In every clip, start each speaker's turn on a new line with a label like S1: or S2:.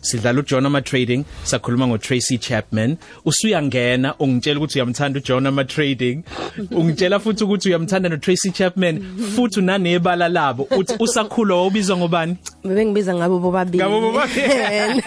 S1: sidlala uJohn Ma Trading sakhuluma ngo Tracy Chapman usuyangena ungitshela ukuthi uyamthanda uJohn Ma Trading ungitshela futhi ukuthi uyamthanda no Tracy Chapman futhi nanebala labo uthi usakhula wawubizwa ngobani
S2: bebengibiza ngabo bobabili
S1: Ngabo bobabili.
S2: And-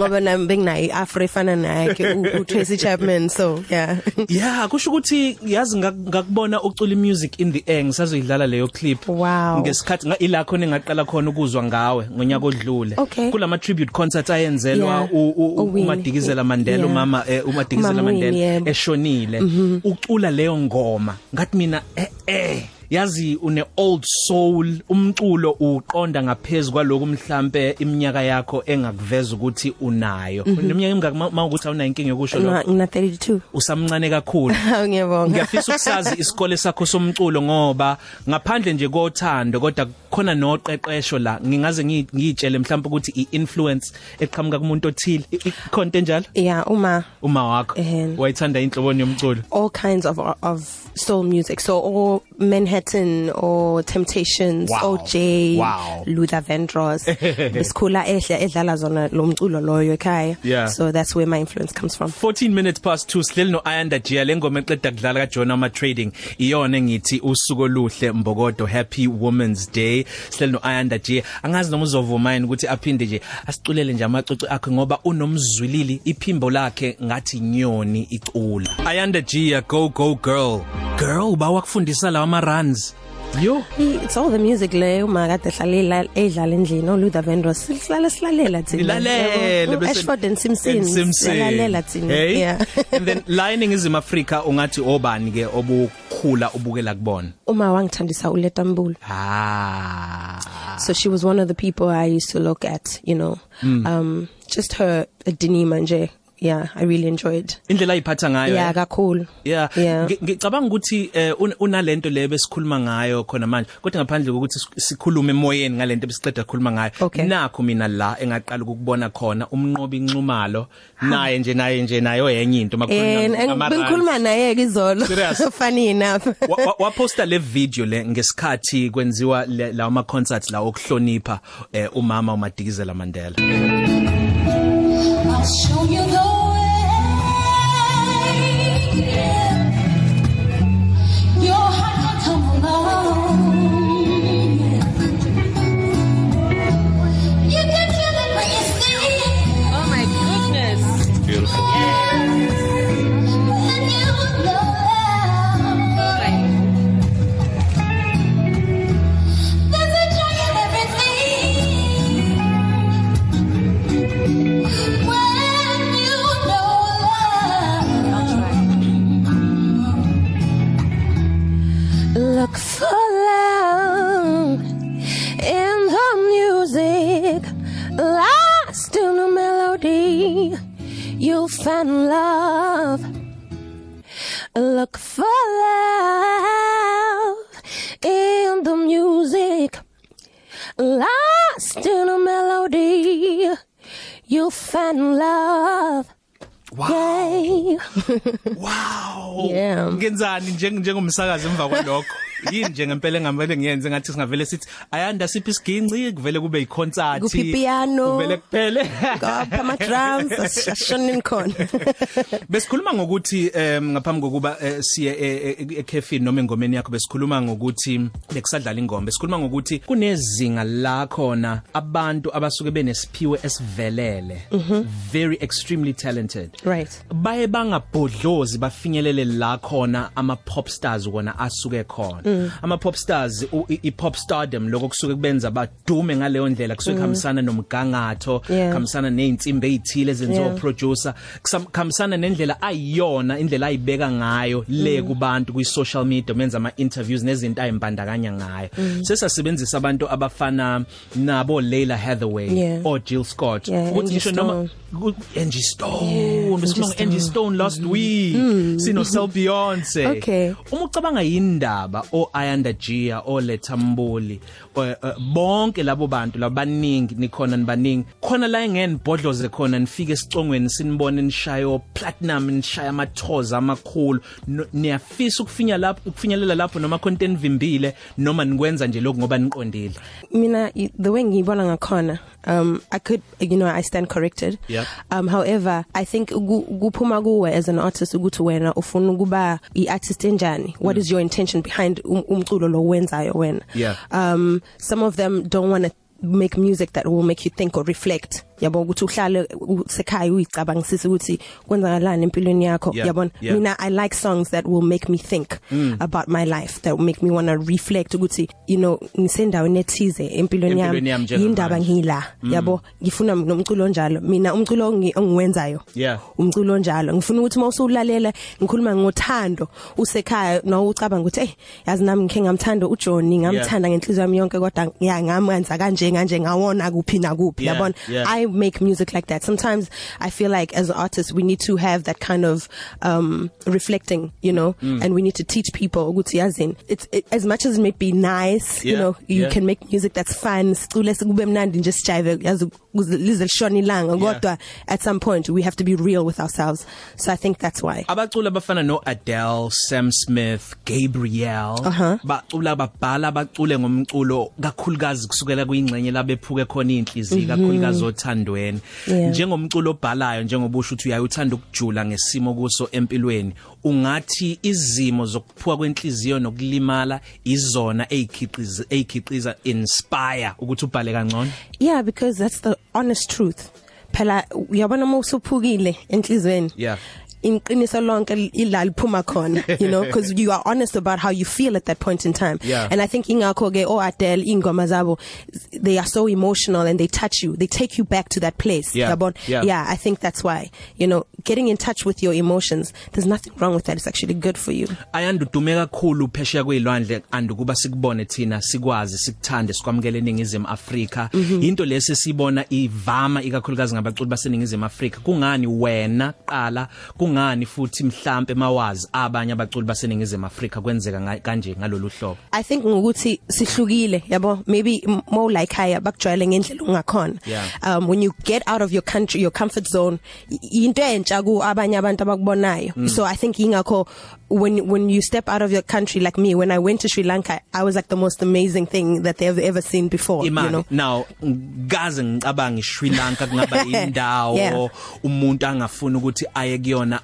S2: ngoba nami benginayo i-afro efana nakhe u- u-tracy chapman so yeah
S1: yeah kusho ukuthi yazi ngak- ngakubona ucula music in the air ngisazoyidlala leyo clip
S2: Wow.
S1: ngesikhathi nga- ilakho nengaqala khona ukuzwa ngawe ngonyaka odlule
S2: Okay.
S1: kulama tribute concert ayenzelwa
S2: Yeah.
S1: u- u- u-
S2: Owinwe.
S1: uMadikizela Mandela
S2: Yeah. Mm-hmm.
S1: umama eh, uMadikizela
S2: Umama Winnie,
S1: Mandela
S2: yebo.
S1: eshonile ucula leyo ngoma ngathi mina eh eh yazi une old soul umculo uqonda ngaphezulu kwaloko mhlambe iminyaka yakho engakuveza ukuthi unayo
S2: Mm-hmm.
S1: neminyaka emingaki mawukuthi awuna inkinga yokusho lokho
S2: Ngina- ngina 32
S1: usamncane kakhulu
S2: ngiyabonga
S1: ngiyafisa ukusazi isikole sakho somculo ngoba ngaphandle nje kothando kodwa khona noqeqesho la ngingaze ngi- ngiyitshele mhlawumbe ukuthi i-influence eqhamuka kumuntu othile I- ikhonto enjalo
S2: yeah uma
S1: uma wakho
S2: Ehhe.
S1: wayithanda inhloboni yomculo
S2: all kinds of of soul music so or manhattan or temptations
S1: Wow.
S2: OJ
S1: Wow.
S2: Luther Vandross besikhula ehle edlala zona lo mculo loyo ekhaya
S1: Yeah.
S2: so that's where my influence comes from
S1: 14 minutes past 2 sihleli no Ayanda Gia lengoma eqeda kudlala ka John ama trading iyona engithi usuku oluhle mbokodo happy women's day sihleli no Ayanda Gia angazi noma uzovuma yini ukuthi aphinde nje asiculele nje amacoco akhe ngoba unomzwilili iphimbo lakhe ngathi inyoni icula Ayanda Gia go go girl girl bawa kufundisa lawa ama runs yo
S2: it's all the music leyo makade hlalela edlala endlini no Luther Vandross sihlala silalela thina
S1: Lalela
S2: Yebo.
S1: bese-
S2: Ashford and Simpson
S1: and Simpsons.
S2: silalela thina
S1: Hey?
S2: yeah
S1: and then lining is in Africa ungathi obani ke obukhula ubukela kubona
S2: uma wangithandisa uletambulo
S1: Ah.
S2: so she was one of the people I used to look at you know
S1: Hmm.
S2: mm. um just her dinima nje yeah I really enjoyed
S1: Indlela ayiphatha ngayo.
S2: yeah
S1: eh?
S2: kakhulu
S1: Yeah.
S2: yeah
S1: Ngi- Ngicabanga ukuthi eh, un- unalento le besikhuluma ngayo khona manje. Kodwa ngaphandle kokuthi sis- sikhulume emoyeni ngalento besiqeda ukukhuluma
S2: Okay.
S1: ngayo. Nakho mina la engaqala ukubona khona umnqobi inxumalo naye nje naye nje nayo yenye into
S2: and
S1: makhuluma
S2: and bengikhuluma naye ke izolo
S1: Serious?
S2: funny enough
S1: wa, wa, wa posta le video le ngesikhathi kwenziwa le- lawa ma concerts la okuhlonipha eh, umama uMadikizela Mandela.
S3: I'll show you the way. Yeah. Your heart can come along. Yeah. You can feel it when you see it.
S4: Oh my goodness.
S3: Beautiful. Then you will know. There's a joy in everything. When you know love.
S2: look for love in the music lost in the melody you'll find love look for love in the music lost in the melody you'll find love Yay.
S1: Wow.
S2: Yeah.
S1: Ngenzani njeng njengomsakazi emva kwalokho? Yini nje ngempela engamele ngiyenze ngathi singavele sithi ayanda siphi isiginci kuvele kube iconcert.
S2: Kuphi piano?
S1: Kuvele kuphele.
S2: ngapha ama drums asishonini khona
S1: Besikhuluma ngokuthi em, ngaphambi kokuba eh, siye eh, eh, ekhefini noma engomeni yakho besikhuluma ngokuthi lekusadlala ingoma besikhuluma ngokuthi kunezinga la khona abantu abasuke benesiphiwe esivelele very extremely talented
S2: Right.
S1: baye bangabhodlozi bafinyelele la khona ama pop stars kona asuke
S2: Mm.
S1: khona ama pop stars u- i i- pop stardom lokho kusuke kubenza badume ngaleyo ndlela kusuke kuhambisana nomgangatho
S2: Mm. Yeah.
S1: kuhambisana nezinsimbi ezithile ezenziwa
S2: Yeah.
S1: uproducer kusam- kuhambisana nendlela ayiyona indlela ayibeka ngayo le
S2: Mm.
S1: kubantu kwi social media menza ama interviews nezinto ayimbandakanya ngayo
S2: Mm.
S1: sesasebenzisa abantu abafana nabo Leila Hathaway
S2: Yeah.
S1: or Jill Scott
S2: Yeah,
S1: ukuthi
S2: Angie
S1: ngisho noma
S2: Stone.
S1: Ku- Angie Stone besikhuluma ngo
S2: Angie
S1: Angie Stone last week sino Sel Beyonce
S2: Okay.
S1: uma ucabanga indaba o Ayanda Gia o Lethamboli eh, eh, bonke labo bantu labaningi nikhona nibaningi khona la engeni bodloze khona nifike esicongweni sinibone nishayo platinum nishaya amathoza amakhulu No- niyafisa ukufinya lapho ukufinyelela lapho noma content vimbile noma nikwenza nje lokho ngoba niqondile
S2: mina i- the way ngiyibona ngakhona Um, I could, you know, I stand corrected.
S1: Yep.
S2: Um, however, I think kupuma kuwe as an artist ukuthi wena ufuna kuba i-artist enjani. What is your intention behind um- umculo lo wenzayo wena?
S1: Yeah.
S2: Um, some of them don't want to make music that will make you think or reflect. Yabo ukuthi uhlale usekhaya uyicabangisise ukuthi kwenzakalani empilweni yakho.
S1: Yeah,
S2: Yabona?
S1: yeah. Mm.
S2: Mina I like songs that will make me think about my life that will make me want to reflect ukuthi you know ngisendaweni ethize empilweni
S1: Empilweni yami
S2: yami
S1: njengamanje. Mm.
S2: indaba ngila yabo ngifuna nomculo onjalo mina umculo ongi- ongiwenzayo
S1: Yeah.
S2: umculo onjalo ngifuna ukuthi mawusulalela ngikhuluma ngothando usekhaya nawucabanga ukuthi hey yazi nami ngikhe ngamthanda uJohn ngamthanda ngenhliziyo yami yonke kodwa yeah ngamanza kanje kanje ngawona kuphi na kuphi
S1: Yeah,
S2: yabona
S1: yeah.
S2: I make music like that sometimes I feel like as artists we need to have that kind of um reflecting you know
S1: Mm.
S2: and we need to teach people ukuthi yazini it's it, as much as it may be nice you
S1: Yeah,
S2: know you
S1: yeah.
S2: can make music that's fun sicule sikube mnandi nje sijive yazi kuze- lize lishona ilanga
S1: Yeah.
S2: kodwa at some point we have to be real with ourselves so i think that's why
S1: abaculi abafana no Adele, Sam Smith, Gabriel
S2: Uh-huh.
S1: bacula babhala bacule ngomculo kakhulukazi kusukela kwingcenye labephuke khona inhliziyo kakhulukazi othandweni
S2: Mhm. Yeah.
S1: njengomculo obhalayo njengobusho uthi uyayothanda ukujula ngesimo kuso empilweni ungathi izimo zokuphuka kwenhliziyo nokulimala izona ezikhiqiza ezikhiqiza inspire ukuthi ubhale kangcono
S2: yeah because that's the honest truth phela uyabona uma usuphukile enhlizweni
S1: Yeah.
S2: inqiniso lonke ila liphuma khona you know because you are honest about how you feel at that point in time
S1: Yeah.
S2: and i think ingakho ke o Adele ingoma zabo they are so emotional and they touch you they take you back to that place
S1: Yeah.
S2: yabona
S1: Yeah.
S2: yeah i think that's why you know getting in touch with your emotions there's nothing wrong with that it's actually good for you
S1: ayandudume kakhulu phesheya kwezilwandle andukuba sikubone thina sikwazi sikuthande sikwamukele eningizimu Afrika
S2: Mhm.
S1: into lesi sibona ivama ikakhulukazi ngabaculi baseningizimu Afrika kungani wena qala kungani futhi mhlambe mawazi abanye abaculi baseningizimu Afrika kwenzeka nga- kanje ngalolu hlobo
S2: I think ngokuthi sihlukile yabo maybe m- more like higher bakujwayele ngendlela ungakhona
S1: Yeah.
S2: um when you get out of your country your comfort zone i- into entsha ku abanye abantu abakubonayo
S1: Mm.
S2: so i think ingakho when when you step out of your country like me when i went to sri lanka i was like the most amazing thing that they have ever seen before Oh, you
S1: imali
S2: know
S1: now ngaze ngicabange iSri Lanka kungaba
S2: Yeah.
S1: indawo umuntu angafuna ukuthi aye kuyona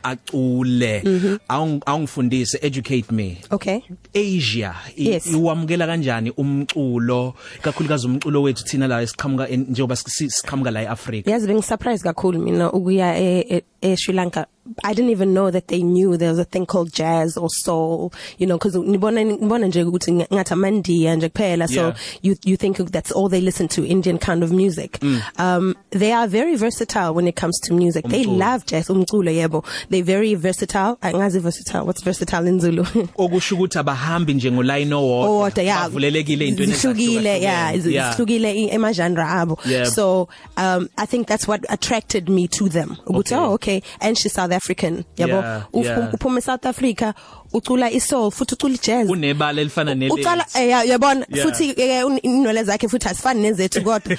S1: acule
S2: Mhm.
S1: Awung- awungifundise educate me
S2: okay
S1: Asia i-
S2: Yes.
S1: iwamukela kanjani umculo kakhulukazi umculo wethu thina la esiqhamuka en- njengoba si- siqhamuka la eAfrica
S2: yazi bengisurprised kakhulu mina ukuya e- e- eSri Lanka I didn't even know that they knew there was a thing called jazz or soul you know cuz nibona nibona nje ukuthi ng- ngathi amandiya nje kuphela so
S1: Yeah.
S2: you you think that's all they listen to Indian kind of music
S1: Mm.
S2: um they are very versatile when it comes to music they
S1: Umculo.
S2: love jazz umculo yebo they very versatile angazi versatile what's versatile in Zulu
S1: okusho ukuthi abahambi nje ngoline
S2: owodwa Oh, yeah
S1: bavulelekile into
S2: zihlukile yeah zihlukile i- emagenre abo
S1: Yeah.
S2: so um i think that's what attracted me to them ukuthi
S1: Okay.
S2: oh okay and she's south african
S1: Yeah,
S2: yabo
S1: yeah.
S2: Uphu- uphuma south africa ucula isoul futhi ucula jazz
S1: unebala elifana nele
S2: ucala eh, ya- yabona
S1: Yeah.
S2: futhi eh, un- inwele zakhe futhi asifani nezethu kodwa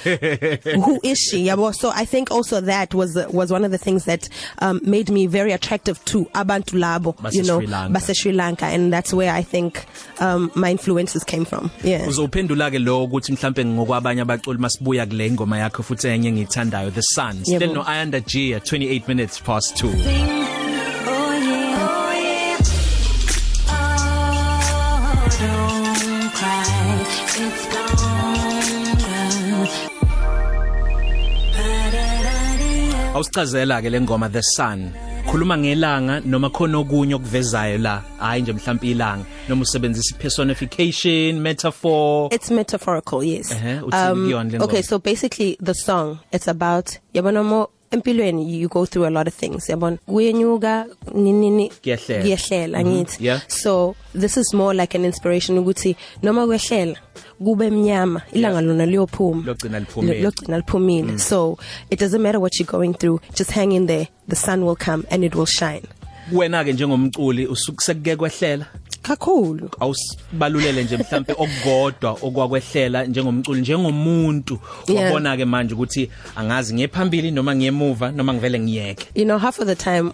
S2: who is she yabo so i think also that was was one of the things that um, made me very attractive to abantu labo
S1: Base
S2: you know
S1: Sri Lanka.
S2: base Sri Lanka and that's where i think um, my influences came from yeah
S1: uzophendula ke lo ukuthi mhlambe ngokwabanye abaculi masibuya kule ingoma yakho futhi enye engiyithandayo the sun
S2: Yebo.
S1: still no ayanda g at 28 minutes past 2
S5: Oh yeah, oh yeah. Oh, don't cry, it's gone. Ba-da-da-dee-oh.
S1: awusichazela ke lengoma the sun khuluma ngelanga noma khona okunye okuvezayo la hayi nje mhlawumbe ilanga noma usebenzisa personification metaphor
S2: It's metaphorical, yes. Um,
S1: Uh-huh. Uthini kuyona le ngoma?
S2: okay, so basically the song it's about yabona mo empilweni you go through a lot of things yabona kuyenyuka nini nini
S1: Kuyehlela. Mm-hmm.
S2: kuyehlela ngithi
S1: yeah.
S2: so this is more like an inspiration ukuthi noma kwehlela kube emnyama ilanga lona liyophuma
S1: Logcina liphumile. Mm.
S2: Lo- logcina liphumile so it doesn't matter what you're going through just hang in there the sun will come and it will shine
S1: wena ke njengomculi usukuseke kwehlela
S2: kakhulu
S1: awusibalulele nje mhlawumbe okugodwa okwakwehlela njengomculi njengomuntu
S2: Yeah.
S1: ubona ke manje ukuthi angazi ngiyephambili noma ngiyemuva noma ngivele ngiyeke
S2: you know half of the time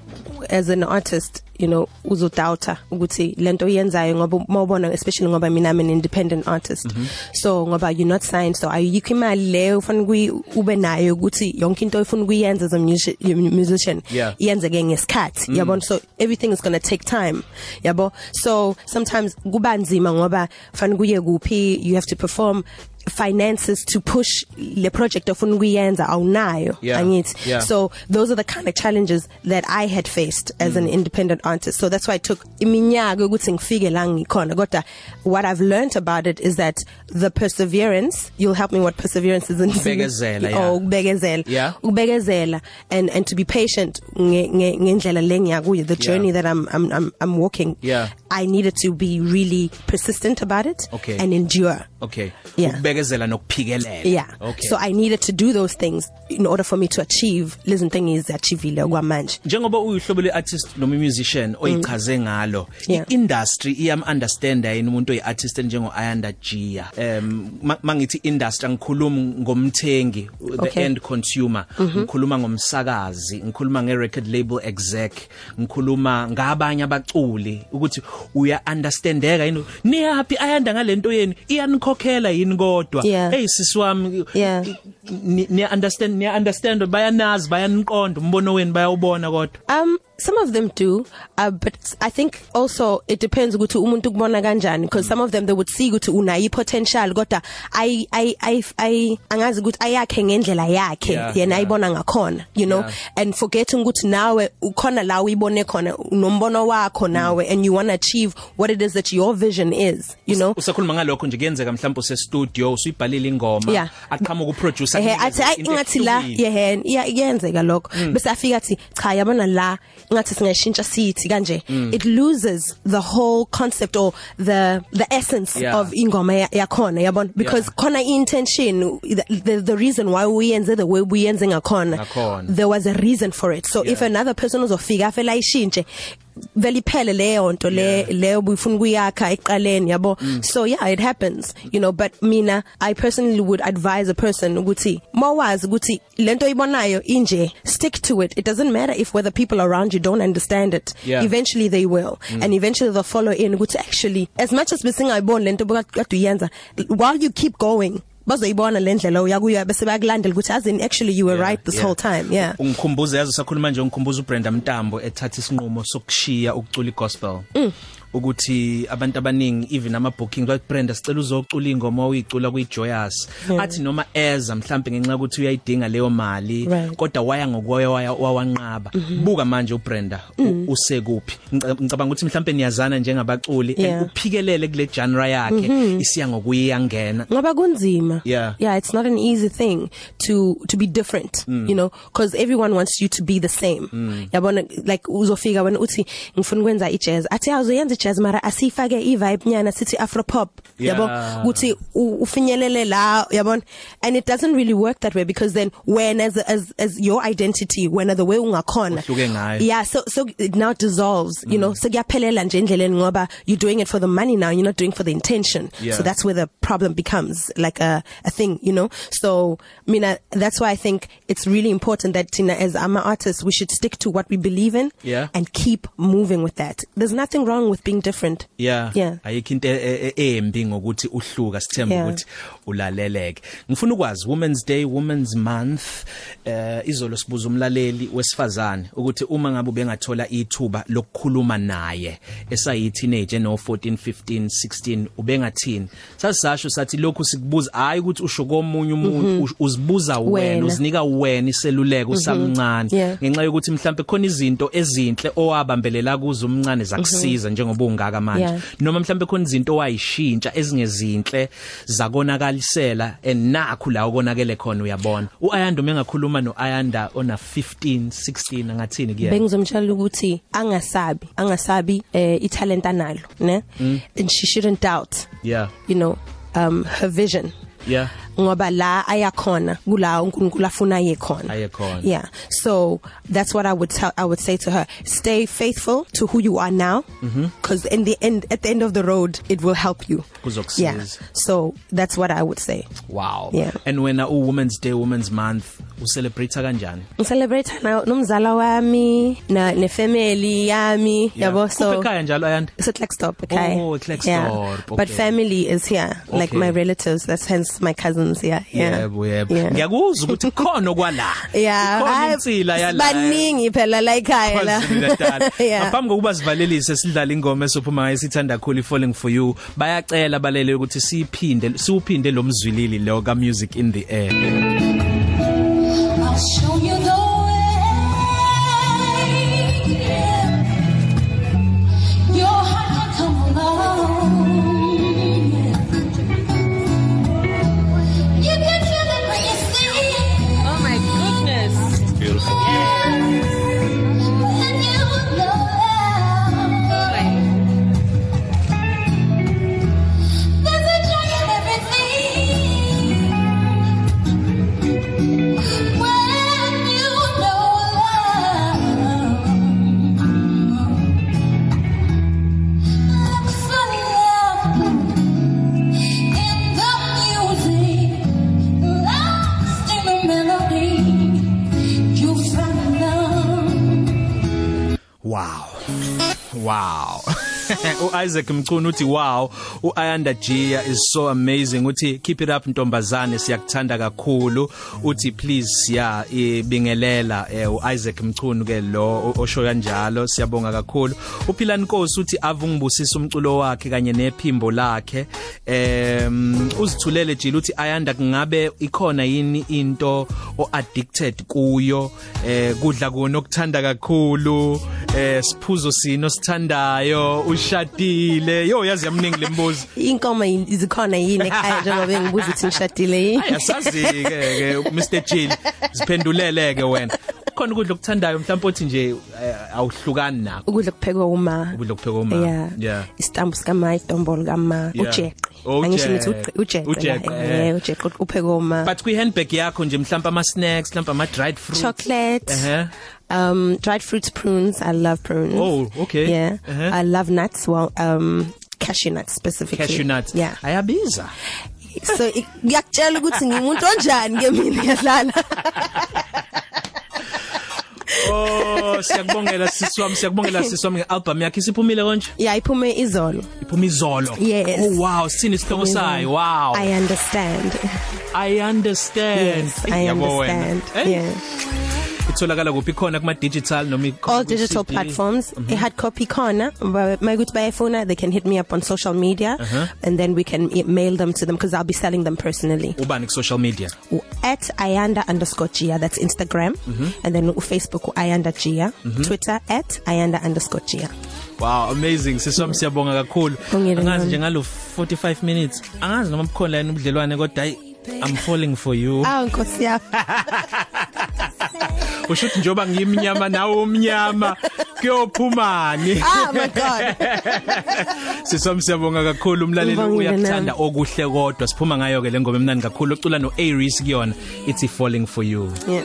S2: as an artist you know uzodoubta ukuthi lento iyenzayo ngoba mawubona especially ngoba mina I'm an independent artist mm -hmm. so ngoba you're not signed so ayikho imali leyo ufuna kuyi- ube nayo ukuthi yonke into ofuna kuyenza as a music- musician
S1: Yeah.
S2: iyenzeke ngesikhathi yabona so everything is going to take time yabo so sometimes kubanzima ngoba fanele kuye kuphi you have to perform finances to push le project ofuna kuyenza awunayo
S1: Yeah.
S2: angithi
S1: Yeah.
S2: so those are the kind of challenges that I had faced as mm. an independent artist so that's why it took iminyaka ukuthi ngifike la ngikhona kodwa what I've learnt about it is that the perseverance you'll help me what perseverance is in
S1: Ukubekezela, yeah.
S2: oh ukubekezela
S1: Yeah.
S2: ukubekezela and and to be patient nge- nge- ngendlela lengiyakuyo the
S1: Yeah.
S2: journey that I'm I'm I'm, I'm walking
S1: Yeah.
S2: I needed to be really persistent about it
S1: Okay.
S2: and endure
S1: Okay.
S2: Yeah.
S1: Ukubekezela nokuphikelela.
S2: yeah
S1: Okay.
S2: so i needed to do those things in order for me to achieve lezi thing iziachivile kwamanje
S1: njengoba uyihlobo le-artist noma i-musician oyichaze ngalo
S2: Mm. Yeah.
S1: i-industry iyam-understanda yini umuntu oyi-artist enjengo-ayanda gia um ma- mangithi industry angikhulumi ngomthengi the
S2: Okay. Mm-hmm.
S1: end consumer mm -hmm. ngikhuluma ngomsakazi ngikhuluma nge-record label exec ngikhuluma ngabanye abaculi ukuthi uya-understandeka yini niyaphi ayanda ngalento yenu iyanikhokhela yini kodwa
S2: Yeah.
S1: hey sisi wami
S2: Yeah.
S1: ni niya understand niya understand bayanazi bayaniqonda umbono wenu bayawubona kodwa
S2: um some of them do uh, but i think also it depends ukuthi umuntu kubona kanjani because some of them they would see ukuthi unayi potential kodwa i i i I- angazi ukuthi ayakhe ngendlela
S1: Yeah,
S2: yakhe yena
S1: yeah.
S2: ayibona ngakhona you know
S1: Yeah.
S2: and forgetting ukuthi nawe ukhona la uyibone khona nombono wakho nawe and you want to achieve what it is that your vision is you know
S1: usakhuluma ngalokho nje kuyenzeka mhlawumbe usestudio usuyibhalile ingoma
S2: Yeah.
S1: aqhamuka uproducer
S2: ehe athi "Ayi, ingathi la yehe iya- iyenzeka
S1: Mm.
S2: lokho bese afika athi cha yabona la ingathi singayishintsha sithi kanje
S1: Mm.
S2: it loses the whole concept or the the essence
S1: Yeah.
S2: of ingoma ya- yakhona yabona because
S1: Yeah.
S2: khona intention the, the, the reason why uyenze the way uyenze
S1: Ngakhona.
S2: ngakhona there was a reason for it so if
S1: Yeah.
S2: another person uzofika afela ishintshe veliphele leyo nto le
S1: Yeah.
S2: leyo buyifuna kuyakha eqaleni yabo so yeah it happens you know but mina i personally would advise a person ukuthi mawazi ukuthi lento ibonayo inje stick to it it doesn't matter if whether people around you don't understand it
S1: Yeah.
S2: eventually they will and eventually they'll follow in ukuthi actually as much as besingayiboni lento bekade uyenza while you keep going bazoyibona lendlela uyakuyo bese bayakulandela ukuthi as in actually you were right this whole time yeah
S1: ungikhumbuza yazi usakhuluma nje ungikhumbuza uBrenda Mtambo ethatha isinqumo sokushiya ukucula igospel
S2: Mm.
S1: ukuthi abantu abaningi even ama bookings bathi Brenda sicela uzocula ingoma oyicula kuJoyous
S2: Yeah.
S1: athi noma eza mhlambe ngenxa ukuthi uyayidinga leyo mali
S2: Right. Mhm.
S1: kodwa waya ngokwayo waya wawanqaba buka manje uBrenda u-
S2: Mm.
S1: usekuphi Ngica- ngicabanga ukuthi mhlambe niyazana njengabaculi
S2: Yeah. Mhm.
S1: and uphikelele kule genre yakhe isiya ngokuyangena
S2: ngoba kunzima
S1: Yeah.
S2: yeah it's not an easy thing to to be different mm. you know because everyone wants you to be the same mm. yabona like uzofika wena uthi ngifuna ukwenza ijazz athi awuzoyenza ijazz mara asifake ivibe nyana sithi afropop
S1: Yeah.
S2: yabo ukuthi u- ufinyelele la yabona and it doesn't really work that way because then when as as as your identity when the way ungakhona
S1: Uhluke ngayo. Mm.
S2: yeah so so it now dissolves you know sekuyaphelela nje endleleni ngoba you're doing it for the money now you're not doing for the intention
S1: Yeah.
S2: so that's where the problem becomes like a a thing you know so mina that's why i think it's really important that tina as ama artists we should stick to what we believe in
S1: Yeah.
S2: and keep moving with that there's nothing wrong with being different
S1: yeah
S2: yeah
S1: ayikho into e- e- embi ngokuthi uhluka sithemba
S2: Yeah.
S1: ukuthi ulaleleke ngifuna ukwazi women's day women's month eh izolo sibuza umlaleli wesifazane ukuthi uma ngabe ubengathola ithuba lokukhuluma naye esayi teenage no 14 15 16 ubengathini sasisasho sathi lokhu sikubuza hayi ukuthi usho komunye umuntu us- uzibuza wena
S2: Mhm. Wena. Mhm.
S1: uzinika wena iseluleko usamncane
S2: Yeah.
S1: ngenxa yokuthi mhlawumbe khona izinto ezinhle owabambelela kuzo umncane
S2: Mhm.
S1: zakusiza njengoba ungaka manje
S2: Yeah.
S1: noma mhlawumbe khona izinto owayishintsha ezingezinhle zakonakalisela and nakhu la ukonakele khona uyabona uayanda uma engakhuluma noayanda ona 15 16 angathini kuyena
S2: bengizomtshela ukuthi angasabi angasabi eh, italent analo ne and she shouldn't doubt
S1: yeah
S2: you know um her vision
S1: yeah
S2: ngoba la ayakhona kula uNkulunkulu afuna yekhona
S1: Aye khona.
S2: yeah so that's what i would tell i would say to her stay faithful to who you are now
S1: Mm-hmm.
S2: because in the end at the end of the road it will help you yeah
S1: Kuzokusiza.
S2: so that's what i would say
S1: Wow.
S2: Yeah.
S1: And when a Women's Day, Women's Month, u celebrate kanjani?
S2: ngicelebrate na nomzala wami na nefamily yami
S1: Yeah.
S2: yabo so
S1: Kuphi ekhaya njalo ayanda.
S2: So Klexdorp, okay.
S1: Oh, Klerksdorp,
S2: Yeah. But
S1: okay.
S2: family is here, like
S1: Okay.
S2: my relatives. That's hence my cousins. Yeah, yeah.
S1: Yebo yebo.
S2: Yeah.
S1: Ngiyakuzwa ukuthi khona kwala.
S2: Yeah,
S1: Khona
S2: hayi,
S1: insila yala.
S2: Baningi phela la ekhaya la.
S1: Yeah.
S2: Yeah.
S1: Ngaphambi kokuba sivalelise sidlala ingoma esophuma ngayo sithanda kakhulu falling for you. Bayacela balele ukuthi siphinde siuphinde lomzwilili lo ka music in the air.
S3: I'll show you the way. yeah. Your heart can come along. yeah. You can feel it when you see it.
S4: Oh my goodness.
S3: Then you know love. There's a joy in everything. When you know love. Look for love in the music, lost in the melody. You'll find love.
S1: Wow. Wow. uIsaac Mchunu uthi wow, uAyanda Gia is so amazing. Uthi keep it up ntombazane, siyakuthanda kakhulu. Uthi please yeah, ibingelela eh, uIsaac Mchunu ke lo o- osho kanjalo. Siyabonga kakhulu. UPhila Nkosi uthi avungibusisa umculo wakhe kanye nephimbo lakhe. Em uzithulele Jila uthi Ayanda kungabe ikhona yini into o addicted kuyo? Eh kudla kuno okuthanda kakhulu. eh siphuzo sino sithandayo ushadile yo yazi yamningi lembuzo
S2: Inkoma yini- izikhona yini ekhaya njengoba ngibuza ukuthi ngishadile yini?
S1: ayasazi ke ke Mr Jill siphendulele ke wena khona ukudla okuthandayo mhlawumbe uthi nje eh, awuhlukani nako
S2: Ukudla kuphekwa uma.
S1: Ukudla kuphekwa uma. Yeah.
S2: Yeah. Isitambu sikama, idombolo kama,
S1: Yeah. Oh,
S2: ujeqe.
S1: Ujeqe.
S2: Angisho ngithi ujeqe.
S1: Ujeqe, eh.
S2: Yeah, ujeqe uphekwa uma.
S1: but kwi handbag yakho nje mhlawumbe ama snacks mhlawumbe ama dried fruits
S2: Chocolate.
S1: ehe
S2: um dried fruits prunes i love prunes
S1: Oh, okay.
S2: yeah
S1: Uh-huh.
S2: uh-huh. i love nuts well um cashew nuts specifically
S1: cashew nuts
S2: yeah
S1: ayabiza
S2: so i- ngiyakutshela ukuthi ngimuntu onjani ke mina ngiyadlala
S1: oh siyakubongela sisi wami siyakubongela sisi wami ngealbum yakhe isiphumile konje
S2: yeah iphume izolo
S1: iphuma izolo
S2: Yes.
S1: oh wow sini isihloko sayo wow
S2: i understand
S1: i understand
S2: yes i
S1: Yabo wena.
S2: understand
S1: Eh,
S2: yeah
S1: itholakala kuphi khona kuma digital noma ikhona
S2: all
S1: ku-
S2: digital
S1: CD?
S2: platforms
S1: Mhm.
S2: mm-hmm. i had copy corner mayikuthi bayafuna they can hit me up on social media uh-huh. and then we can e- mail them to them because i'll be selling them personally
S1: ubani ku social media
S2: u- at ayanda_gia that's Instagram mm-hmm. and then u- Facebook ayanda_gia mm-hmm. Twitter at ayanda_gia
S1: wow amazing sisami siyabonga kakhulu
S2: Ungiyabonga.
S1: angazi nje ngalo 45 minutes angazi noma bukhona yini ubudlelwane kodwa hayi I'm falling for you.
S2: awu Oh, nkosi yami
S1: Ushuthi njoba ngimnyama nawe umnyama kuyophumani.
S2: ah my god
S1: Sisami siyabonga kakhulu umlaleli
S2: Ngibongile
S1: uyakuthanda okuhle kodwa siphuma ngayo ke lengoma emnandi kakhulu ocula no Aries kuyona. It's falling for you.
S2: yeah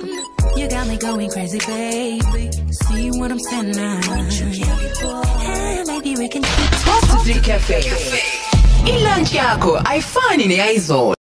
S5: You got me going crazy, baby. See what I'm saying now. Hey, maybe we can.
S6: Positive Cafe. Ilunch yakho ayifani neyizolo.